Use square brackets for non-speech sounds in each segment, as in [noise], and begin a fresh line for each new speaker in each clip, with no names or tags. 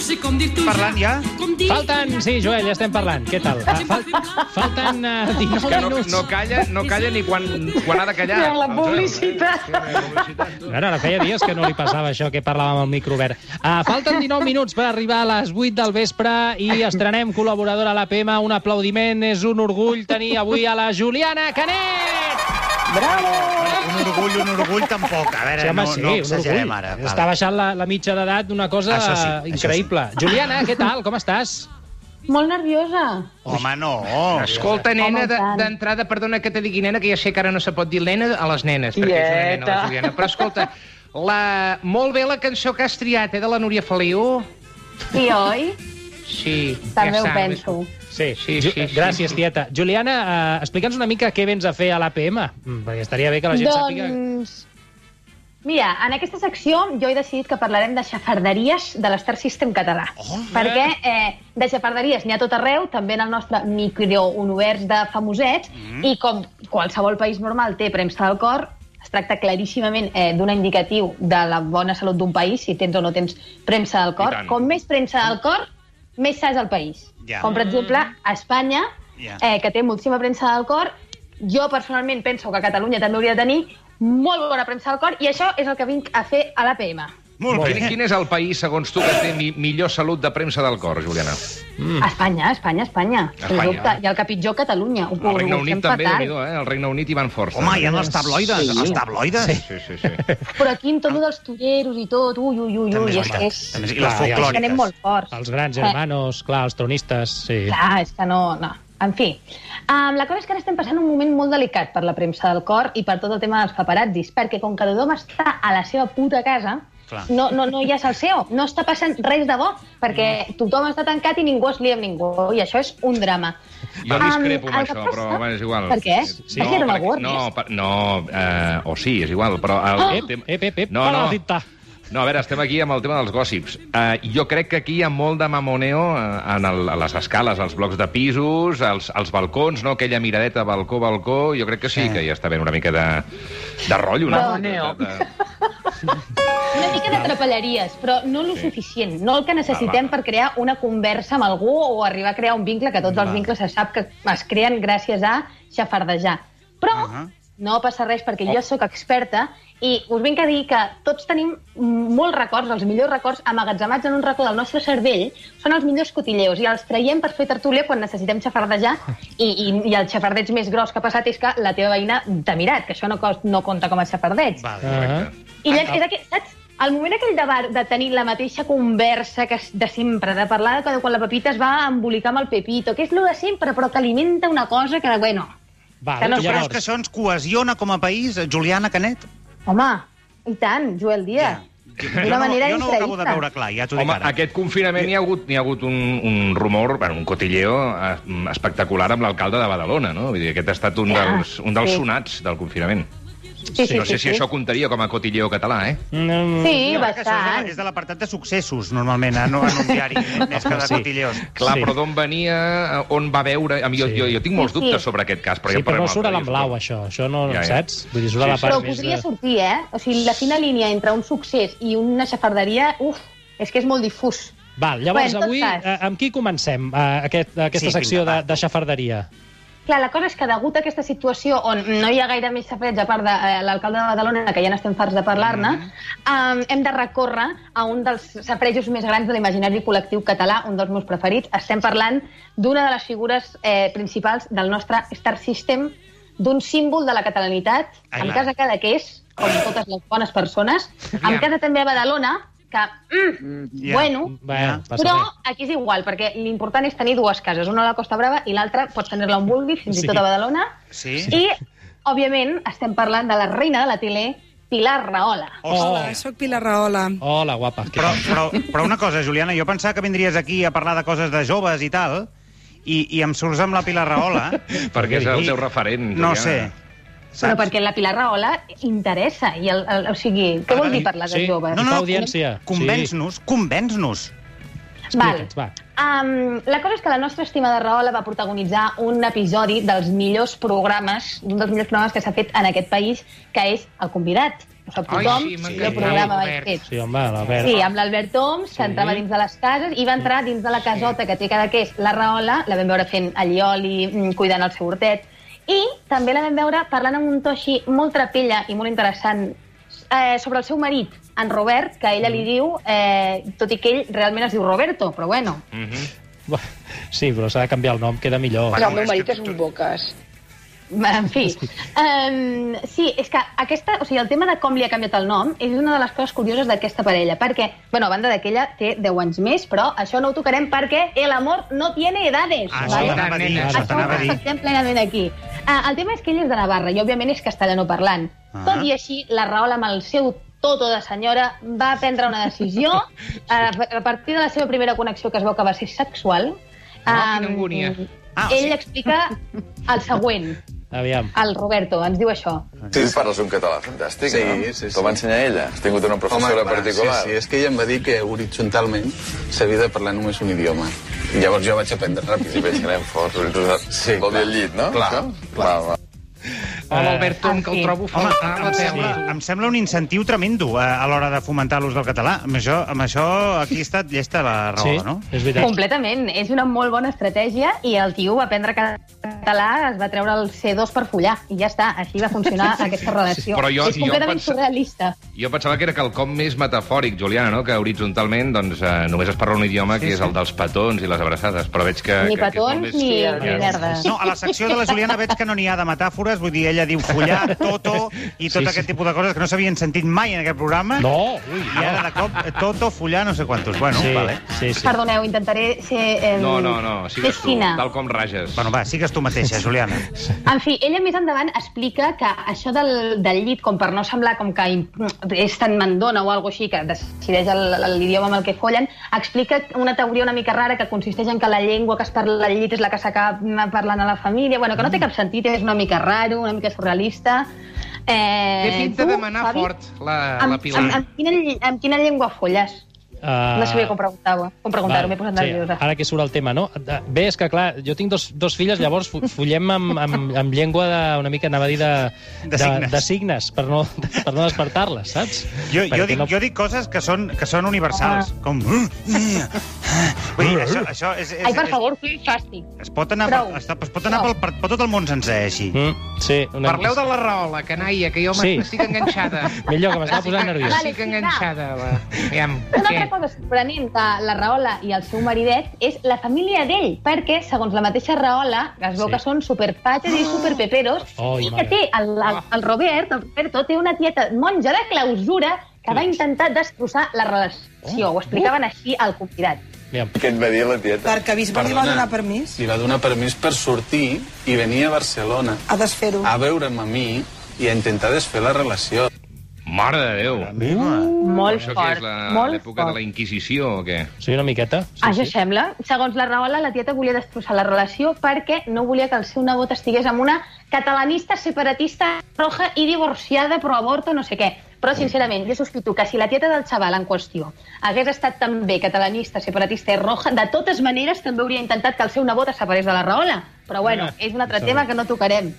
sé com dir-t'ho
Parlant ja?
Com dir
Falten, sí, Joel, ja estem parlant. Què tal? Ah, fal... Falten uh, 19
Que no,
minuts.
no, calla, no calla ni quan, quan ha de
Ah,
callar.
Durant la
doncs
El Joel.
publicitat.
Bueno, ara feia dies que no li passava això que parlàvem amb el micro obert. Uh, falten 19 minuts per arribar a les 8 del vespre i estrenem col·laboradora a l'APM. Un aplaudiment, és un orgull tenir avui a la Juliana Canet!
Un orgull, un orgull tampoc. A veure, no, no exagerem ara. val.
Està baixant la, la mitja d'edat d'una cosa
Això sí,
eh,
això
increïble. Juliana, què tal? Com estàs?
Molt nerviosa.
Home, no.
Escolta,
Home,
nena,
i
de-
tant.
d'entrada, perdona que te digui nena, que ja sé que ara no se pot dir nena a les nenes, perquè és una nena, la
Tieta.
Juliana. Però escolta, la... molt bé la cançó que has triat, eh, de la Núria Feliu.
I oi?
Sí,
També
ja
ho
saps.
penso.
Sí,
Sí,
Ju-
sí, sí.
Gràcies, tieta. Juliana, eh, explica'ns una mica què vens a fer a l'APM, Mm, perquè estaria bé que la gent sàpiga...
Doncs... Mira, en aquesta secció jo he decidit que parlarem de xafarderies de l'Star System català.
Oh,
perquè eh, de xafarderies n'hi ha a tot arreu, també en el nostre microunivers de famosets, mm. i com qualsevol país normal té premsa del cor, es tracta claríssimament eh, d'un indicatiu de la bona salut d'un país, si tens o no tens premsa del
I
cor.
tant.
Com més premsa del cor, més saps el país.
Ja.
Com, per exemple, a Espanya,
Ja.
eh, que té moltíssima premsa del cor, jo personalment penso que Catalunya també hauria de tenir molt bona premsa del cor, i això és el que vinc a fer a l'APM.
Molt
Quin,
bé.
quin és el país, segons tu, que té mi, millor salut de premsa del cor, Juliana?
Mm. Espanya, Espanya, Espanya.
Espanya.
Espanya. Dubte. I el que pitjor, Catalunya. Ho,
El Regne
ho
Unit
fem
també,
fatal.
déu eh? El Regne Unit hi van força.
Home, hi ha els tabloides, els tabloides. Sí.
Sí, sí, sí.
Però aquí amb tot lo dels toreros i tot, ui, ui, ui,
També
ui,
és
és que és...
veritat. També és- I
Clar,
les
ja.
És que anem molt
folclòriques.
forts.
Els grans hermanos, clar, els tronistes, sí.
Clar, és que no... no. En fi, um, la cosa és que ara estem passant un moment molt delicat per la premsa del cor i per tot el tema dels paparazzis, perquè com que tothom està a la seva puta casa,
Clar.
no, no, no hi ha salseo, no està passant res de bo, perquè tothom està tancat i ningú es lia amb ningú, i això és un drama.
Jo
Em,
discrepo amb
el que
això,
passa-
però home, és igual.
Per què?
Sí,
Perquè era una
perquè-
gorda.
no, per, no eh, o sí, és igual, però... El,
Oh!
Ep,
tema-
ep, ep, ep,
no,
para
no.
la cinta.
No, a veure, estem aquí amb el tema dels gòssips. Uh, jo crec que aquí hi ha molt de mamoneo eh, en el, a les escales, als blocs de pisos, als, als balcons, no? aquella miradeta balcó, balcó... Jo crec que sí,
Eh.
que hi està havent una mica de, de rotllo. No?
Mamoneo.
De, de,
Una mica d'atrapalleries, però no lo
Sí.
suficient, no el que necessitem
Va, va.
per crear una conversa amb algú o arribar a crear un vincle, que tots els vincles se sap que es creen gràcies a xafardejar. Però
Ah
Ahà.
no passa res, perquè
Oh.
jo sóc experta i us vinc a dir que tots tenim molts records, els millors records amagatzemats en un racó del nostre cervell, són els millors cotilleus i els traiem per fer tertúlia quan necessitem xafardejar i, i, i el xafardeig més gros que ha passat és que la teva veïna t'ha mirat, que això no, cost, no compta com a xafardeig.
Val.
Ah,
I llavors, és aquell, saps? El moment aquell de, bar, de tenir la mateixa conversa que es- de sempre, de parlar de quan, quan la Pepita es va embolicar amb el Pepito, que és lo de sempre, però que alimenta una cosa que, bueno...
val,
Que no
Tu creus que
llavors,
això ens cohesiona com a país, Juliana Canet?
Home, i tant, Joel Díaz.
Jo no-
D'una manera
jo no ho acabo de
increïble.
veure clar, ja t'ho dic
Home,
ara.
aquest confinament hi ha hagut, hi ha hagut un, un rumor, bueno, un cotilleo eh, espectacular amb l'alcalde de Badalona, no? Vull dir, aquest ha estat un
Ja,
dels, un dels
Ah, sí.
sonats del confinament.
Sí, sí,
no sé
sí,
si
sí.
això comptaria com a cotilleo català, eh?
Mm,
Sí,
Jo crec que això és de la-
bastant.
És de l'apartat de successos, normalment, eh, no en un diari, més que de
Sí.
cotilleos.
Clar,
Sí.
però d'on venia, eh, on va veure... A mi, jo,
Sí.
jo, jo tinc molts
Sí, sí.
dubtes sobre aquest cas, però
sí,
ja
però
parlarem
no surt a
l'altre dia,
l'emblau,
suposo.
això. Això no,
Ja,
ja,
ja.
ja. saps? Vull dir, surt a
Sí,
la
sí.
part
Però
més
podria
de...
sortir, eh? O sigui, la fina línia entre un succés i una xafarderia, uf, és que és molt difús.
Val, llavors,
Bé, en tot
avui,
cas.
eh, amb qui comencem eh, aquest, aquesta
Sí,
secció
vinga,
de,
va.
de xafarderia?
Clar, la cosa és que degut a aquesta situació on no hi ha gaire més safarets a part de eh, l'alcalde de Badalona, que ja n'estem farts de parlar-ne,
Mm.
eh, hem de recórrer a un dels safarejos més grans de l'imaginari col·lectiu català, un dels meus preferits. Estem parlant d'una de les figures eh, principals del nostre Star System, d'un símbol de la catalanitat,
Ai,
en
va.
casa cada que és, com totes les bones
[laughs]
persones, en
Aviam.
casa també a Badalona, que, mm,
Ja.
bueno,
Bé,
Ja.
passa
però
res.
aquí és igual, perquè l'important és tenir dues cases, una a la Costa Brava i l'altra pots tenir-la on vulguis, fins
Sí.
i tot a Badalona.
Sí?
I, òbviament, estem parlant de la reina de la tele, Pilar Rahola.
Hòstia.
Oh.
Hola, sóc Pilar Rahola.
Hola, guapa. què
Però,
tal?
però, però una cosa, Juliana, jo pensava que vindries aquí a parlar de coses de joves i tal, i, i em surts amb la Pilar Rahola.
Perquè és el
I-
teu referent.
No
Juliana.
sé.
Però perquè la Pilar Rahola interessa, i el, el, o sigui, què vol dir parlar de
Sí.
joves?
No, no, audiència.
Convenç-nos, convenç-nos.
Val.
Explica'ns, va.
Um, la cosa és que la nostra estimada Rahola va protagonitzar un episodi dels millors programes, d'un dels millors programes que s'ha fet en aquest país, que és El Convidat. ho sap
Ai,
tothom,
sí,
sí,
m'encanta,
el programa
Albert.
vaig fer.
Sí, home, l'Albert.
Sí, amb l'Albert Oms, que
Sí.
entrava dins de les cases, i va entrar dins de la casota que té cada que és la Rahola, la vam veure fent allioli, mm, cuidant el seu hortet, i també la vam veure parlant amb un to així molt trapella i molt interessant eh, sobre el seu marit, en Robert, que ella li diu, eh, tot i que ell realment es diu Roberto, però bueno.
Mm -hmm.
Buah, Sí, però s'ha de canviar el nom, queda millor.
No, el meu marit és un boques.
En fi, um, sí, és que aquesta, o sigui, el tema de com li ha canviat el nom és una de les coses curioses d'aquesta parella, perquè, bueno, a banda d'aquella té 10 anys més, però això no ho tocarem perquè el amor no tiene edades.
Ah,
Vale.
això t'anava a dir,
Això
això
Això ho
t'anava a dir.
respectem plenament aquí. Ah, el tema és que ell és de Navarra i, òbviament, és castellano parlant.
Ah.
Tot i així, la Rahola, amb el seu toto de senyora, va prendre una
[laughs]
decisió a, a partir de la seva primera connexió, que es veu que va ser sexual.
Ah, quina
em,
angúnia.
Ah,
ell
sí.
explica el
[laughs]
següent.
Aviam.
El Roberto ens diu això.
Sí, parles un català fantàstic,
Sí,
no?
sí, sí.
T'ho va ensenyar ella? Has tingut una professora
clar,
particular?
Sí, sí, és que ella em va dir que horitzontalment s'havia de parlar només un idioma. I llavors jo vaig aprendre
I veig
ràpid.
que anem forts.
Sí,
Vol dir
clar.
el llit, no?
Clar,
Això?
clar.
Va, va.
Hola, Albert,
Ah,
que el
sí.
trobo
Home,
fatal,
em
la
sembla,
teva.
em sembla un incentiu tremendo eh, a l'hora de fomentar l'ús del català. Amb això, amb això aquí ha estat llesta la raó,
Sí,
no?
és veritat.
Completament. És una molt bona estratègia i el tio va aprendre català, es va treure el C2 per follar i ja està. Així va funcionar aquesta relació.
però jo-
és
jo
completament
pensa-
surrealista.
Jo pensava que era quelcom més metafòric, Juliana, no? que horitzontalment doncs, eh, només es parla un idioma sí, que és el dels petons i les abraçades, però veig que...
Ni
que,
petons
que és molt
ni,
més-
ni merda.
No, a la secció de la Juliana veig que no n'hi ha de metàfores, vull dir, ella diu follar, toto i tot
Sí, sí.
aquest tipus de coses que no s'havien sentit mai en aquest programa.
No, ui,
I ara, de cop, eh, toto, follar, no sé quantos. Bueno,
Sí,
vale.
sí, sí.
Perdoneu, intentaré ser... Eh,
No, no, no, sigues
més
tu,
fina.
tal com rages.
Bueno, va, sigues tu mateixa, Juliana.
En fi, ella més endavant explica que això del, del llit, com per no semblar com que im- és tan mandona o alguna així, que decideix el- l'idioma amb el que follen, explica una teoria una mica rara que consisteix en que la llengua que es parla al llit és la que s'acaba parlant a la família. Bueno, que no té cap sentit, és una mica raro, una mica surrealista. Eh,
Té pinta
tu,
de manar
Fabi,
fort la, la
Amb,
Pilar.
amb, amb, quina, lle- amb quina llengua folles?
Uh,
No sabia com preguntar-ho, eh. com preguntar-ho, m'he posat nerviosa.
Ara que surt el tema, no? Eh, Bé, és que clar, jo tinc dos, dos filles, llavors fo- follem amb, amb, amb llengua de, una mica, anava a dir, de,
De signes.
de signes per no, per no despertar-les, saps?
Jo, jo,
Perquè
dic,
no-
jo dic coses que són, que són universals,
Ah.
com... "Uh, Vull dir, això, això és, és,
Ai, per
és-
favor, que fàstic.
es pot anar,
Prou.
per, es, es pot anar pel, per, per tot el món sencer, així.
Mm, sí, una...
Parleu de la raola, canalla, que jo
Sí.
m'estic enganxada.
Millor, que m'estava posant
Ah,
nerviós.
Estic enganxada. Va. Aviam,
Una
què?
altra cosa sorprenent de la Rahola i el seu maridet és la família d'ell, perquè, segons la mateixa Rahola, es veu
Sí.
sí. que són superfatxes i superpeperos,
Ai,
i que
mare.
té el, el, el Robert, el Roberto, té una tieta monja de clausura que va intentar destrossar la relació. Ho explicaven així al convidat.
Aviam.
Què et va dir la tieta?
Perquè Bisbal li va donar permís
Li va donar permís per sortir i venir a Barcelona
a desfer-ho.
a veure'm a mi i a intentar desfer la relació.
Mare de Déu!
Uh.
Molt
Això què
fort,
és, la-
molt
l'època de
fort.
la Inquisició o què?
Sí, una miqueta.
Sí,
Sí,
Això
sí.
sembla. Segons la Rahola, la tieta volia destrossar la relació perquè no volia que el seu nebot estigués amb una catalanista separatista roja i divorciada pro aborto no sé què. Però, sincerament, jo sospito que si la tieta del xaval en qüestió hagués estat també catalanista, separatista i roja, de totes maneres també hauria intentat que el seu nebot es separés de la Rahola. Però, bueno,
Ah,
és un altre
segur.
tema que no tocarem.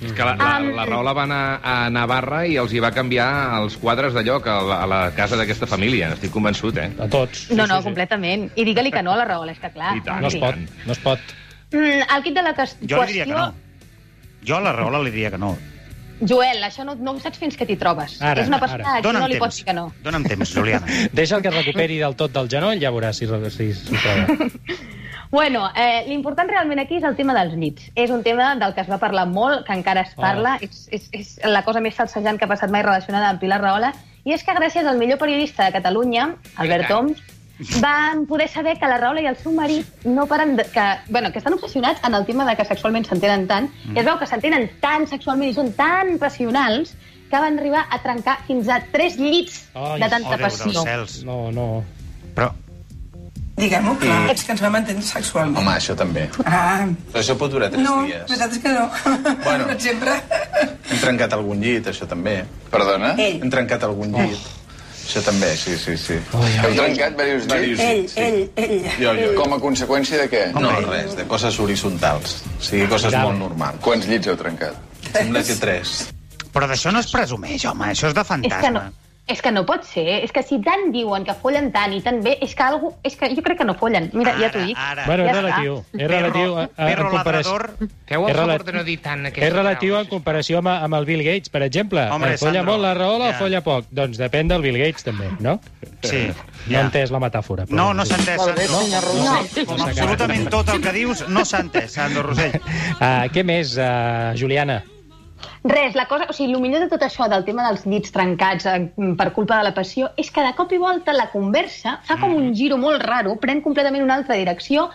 És que la, la,
Um,
la Rahola va anar a Navarra i els hi va canviar els quadres de lloc a la, a la casa d'aquesta família, n'estic convençut, eh?
A tots.
No, no,
sí, sí.
completament. I digue-li que no a la Rahola, és que clar.
I tant.
No es pot, no es pot.
Mm, El kit de la qüestió...
Jo li diria que no. Jo a la Rahola li diria que no.
Joel, això no, no ho saps fins que t'hi trobes.
Ara,
és una
ara.
persona a qui
Dóna'm
no li
temps.
pots dir que no.
Dóna'm temps,
[laughs]
Juliana.
Deixa el que es recuperi del tot del genoll, ja veuràs si, si, si troba.
Bueno, eh, l'important realment aquí és el tema dels llits. És un tema del que es va parlar molt, que encara
Oh.
es parla, és, és, és la cosa més salsejant que ha passat mai relacionada amb Pilar Rahola, i és que gràcies al millor periodista de Catalunya, Albert Oms, van poder saber que la Rahola i el seu marit no paren de, que, bueno, que estan obsessionats en el tema de que sexualment s'entenen tant,
Mm.
i es veu que s'entenen tan sexualment i són tan passionals que van arribar a trencar fins a tres llits
Ai,
de
Oh,
tanta
Déu dels
passió.
cels.
No, no.
Però,
Diguem-ho clar, és que ens vam entendre sexualment.
Home, això també.
Ah,
Però això pot durar tres
no,
dies.
nosaltres que no. [laughs]
Bueno.
No sempre.
Hem trencat algun llit, això també.
Perdona?
Ell.
Hem trencat
Oh.
algun llit. Això també, sí, sí, sí.
Heu trencat diversos llits?
Ell, ell, ell.
Jo, jo. Com...
Com a conseqüència de què?
No, res, de coses horitzontals. O sigui, coses
Mirava.
molt normals.
Quants llits heu trencat?
Sembla que tres.
Però d'això no es presumeix, home, això és de
És que no,
fantasma.
és que no pot ser. És que si tant diuen que follen tant i tant bé, és que, algú, és que jo crec que no follen. Mira, ja t'ho dic.
Ara,
Bueno, és
Ja està.
relatiu. És
Perro-
relatiu a, a,
perro
en comparació...
ladrador.
Feu el
És
favor
relat-
de no dir tant aquestes
És relatiu en
paraules.
comparació amb, amb el Bill Gates, per exemple.
Hombre,
Eh, folla
Sandro,
molt la raola
ja.
o folla poc? Doncs depèn del Bill Gates, també, no?
Sí,
Eh, No
ja.
he entès la metàfora. però-
No, no s'ha entès, Sandro.
No.
Com absolutament tot el que dius, no s'ha entès, Sandro Rosell.
Ah, què més, ah, Juliana?
Res, la cosa, o sigui, el millor de tot això del tema dels dits trencats eh, per culpa de la passió és que de cop i volta la conversa fa com
Mm.
un giro molt raro, pren completament una altra direcció,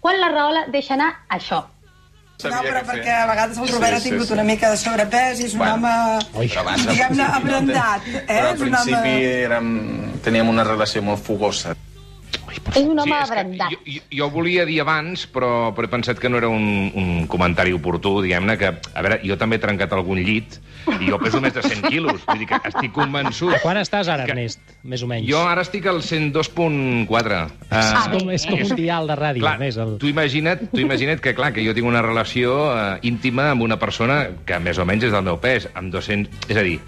quan la Rahola deixa anar això.
No, però perquè a vegades el Robert ha tingut una mica de sobrepès i és un home,
Ui,
diguem-ne, abrandat. Eh?
Però al
És un home...
principi érem, teníem una relació molt fugosa.
És un home
és que
abrandat.
Jo, jo, jo volia dir abans, però, però he pensat que no era un, un comentari oportú, diguem-ne, que, a veure, jo també he trencat algun llit i jo peso més de 100 quilos, vull dir que estic convençut.
Quan estàs ara,
Que-
Ernest, més o menys?
Jo ara estic al 102.4.
Ah,
És
Uh,
Ah, com, és com un dial de ràdio,
clar,
més. El...
tu imagina't, tu imagina't que, clar, que jo tinc una relació uh, íntima amb una persona que més o menys és del meu pes, amb 200... És a dir,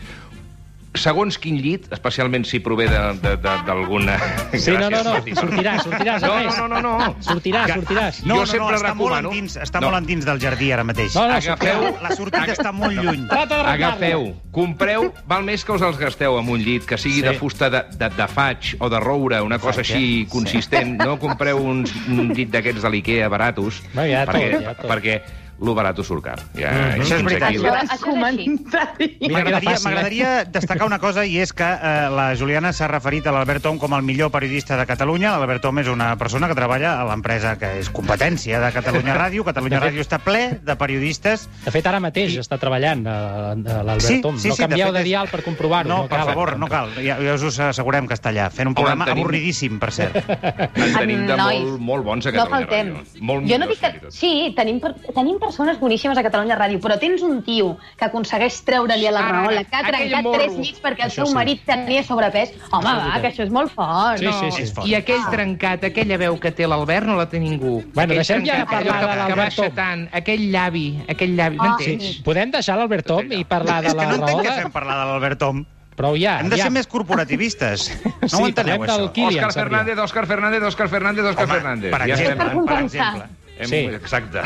segons quin llit, especialment si prové de- de- de- d'alguna...
Sí, no, no,
Gràcies,
no,
Martí.
sortiràs, sortiràs,
No,
Ernest.
no, no, no, no.
Sortiràs, sortiràs.
No, no, no,
sempre
està molt
recomano-
endins, està
No.
molt endins del jardí ara mateix.
No, no,
Agafeu...
La sortida està molt lluny.
Trata d'arreglar-lo.
Agafeu, compreu, val més que us els gasteu amb un llit, que sigui
Sí.
sí. de fusta de, de, de faig o de roure, una cosa així consistent. No compreu uns, un llit d'aquests de l'Ikea baratos,
Va, ja tot,
perquè,
ja tot.
perquè lo barato surt car. Ja,
Mhm.
és
Això és veritat.
Això, això és així.
Mira que era
M'agradaria
fàcil, eh?
m'agradaria destacar una cosa i és que eh, la Juliana s'ha referit a l'Albert Om com el millor periodista de Catalunya. L'Albert Om és una persona que treballa a l'empresa que és competència de Catalunya [laughs] Ràdio. Catalunya Ràdio està ple de periodistes.
De fet, ara mateix està treballant eh, eh, l'Albert
Sí,
Tom.
sí,
no
sí, de
canvieu
fet
de,
és-
dial per comprovar-ho.
No, per
cal.
favor, no cal. Ja, ja us ho assegurem que està allà, fent un programa
tenim-
avorridíssim, per [laughs] cert.
En tenim de
Nois,
molt, molt bons a
No
Catalunya
faltem.
Ràdio. Molt
jo
millors,
no dic que...
fins i tot.
Sí, tenim, per- tenim persones boníssimes a Catalunya Ràdio, però tens un tio que aconsegueix treure-li a la
Ah,
raola, que ha
aquell
trencat
morro.
tres llits perquè el
Això
seu
sí.
marit tenia sobrepès. Home, va,
veritat.
que això és molt fort.
Sí,
No,
sí, sí.
És fort.
I aquell trencat, aquella veu que té l'Albert, no la té ningú.
Bueno,
aquell
deixem ja de
trencat, allò
parlar de
que- que
l'Albert
baixa
Tom.
tant, aquell llavi, aquell llavi,
Ah,
m'entens?
sí.
Podem deixar l'Albert Tom i parlar de
És que
la
no entenc què
raola?
fem parlar de l'Albert Om.
Prou ja,
Hem de
Ah, ja.
ser més
[laughs]
corporativistes. No
Sí,
ho enteneu,
parlem del
això.
qui- Kilian
Òscar
Sabrià.
Fernández, Òscar Fernández, Òscar Fernández, Òscar Fernández.
per exemple, per
estem. Per
exemple.
compensar.
Hem...
Sí.
Exacte.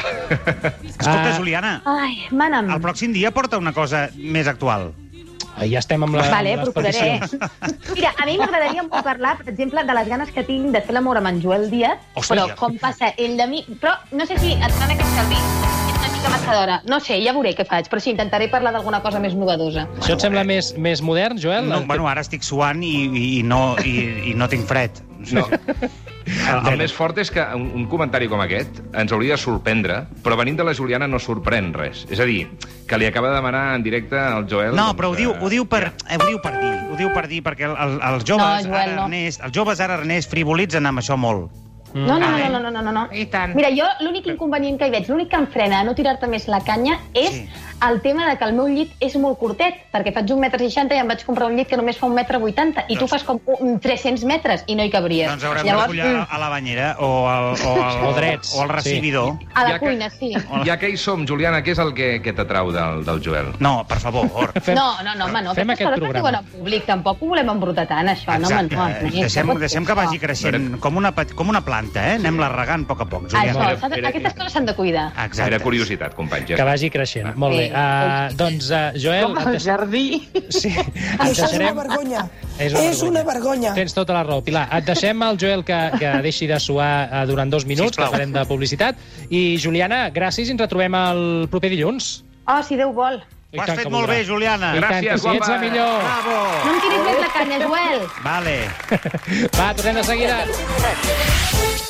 Escolta,
Ah.
Juliana,
Ai, mana'm.
el pròxim dia porta una cosa més actual.
Ah, Ja estem amb la...
Vale,
amb les
procuraré.
peticions.
Mira, a mi m'agradaria molt parlar, per exemple, de les ganes que tinc de fer l'amor amb en Joel Díaz,
Hòstia.
però com passa ell de mi... Però no sé si et fan aquest servei és una mica massa d'hora. No sé, ja veuré què faig, però sí, intentaré parlar d'alguna cosa més novedosa.
Això et sembla més, més modern, Joel?
No, bueno, ara estic suant i, i, i, no, i, i no tinc fred. [laughs]
No.
El,
El més fort és que un, un comentari com aquest ens hauria de sorprendre, però venint de la Juliana no sorprèn res. És a dir, que li acaba de demanar en directe al Joel...
No,
doncs,
però ho diu,
eh,
ho diu per,
ja.
eh, ho diu per dir, ho diu per dir, perquè el, el, els joves, no,
No, Joel,
ara,
no.
Ernest, els joves ara, Ernest, frivolitzen amb això molt. Ah,
No, no, no, no, no, no, no, no.
I tant.
Mira, jo l'únic inconvenient que hi veig, l'únic que em frena a no tirar-te més la canya és
Sí.
el tema de que el meu llit és molt curtet, perquè faig 1,60 metre i em vaig comprar un llit que només fa 1,80 metre i tu
Doncs-
fas com un 300 metres i no hi cabries.
Doncs haurem Llavors, de collar
mm,
a la banyera o al, o al,
[laughs] O drets,
o al
sí.
recibidor. Sí.
a la
Ja que-
cuina, sí.
eh, Ja que hi som, Juliana, què és el que, que t'atrau del, del Joel?
No, per favor.
Fem-
No, no, no, home, no.
fem
Fem
aquest
aquest programa.
programa.
Diuen en públic, tampoc ho volem embrutar tant, això. No, home, no,
Exacte.
Ernest,
Deixem,
no pot ser
deixem que
això.
vagi creixent com una, pet- com una planta, eh? Anem la regant a poc a poc,
Això,
Juliana.
s'ha de- aquestes coses s'han de cuidar.
Exacte.
Era curiositat, companys.
Que
Ja.
vagi
Ah.
creixent. Molt bé.
Sí.
Uh, doncs, uh, Joel...
Com el
et-
jardí.
Sí, et
Això és una
deixarem...
vergonya.
Ah, És una
És una vergonya.
Tens tota la raó, Pilar. Et deixem el Joel que, que deixi de suar eh, durant dos minuts,
Sisplau.
que farem de publicitat. I, Juliana, gràcies i ens retrobem el proper dilluns.
Oh, si Déu vol.
Ho has fet molt bé, Juliana.
I tant, que
Gràcies,
si ets
guapa.
la millor.
No
Bravo.
em tiris més la canya, Joel.
Vale.
Va, tornem de seguida.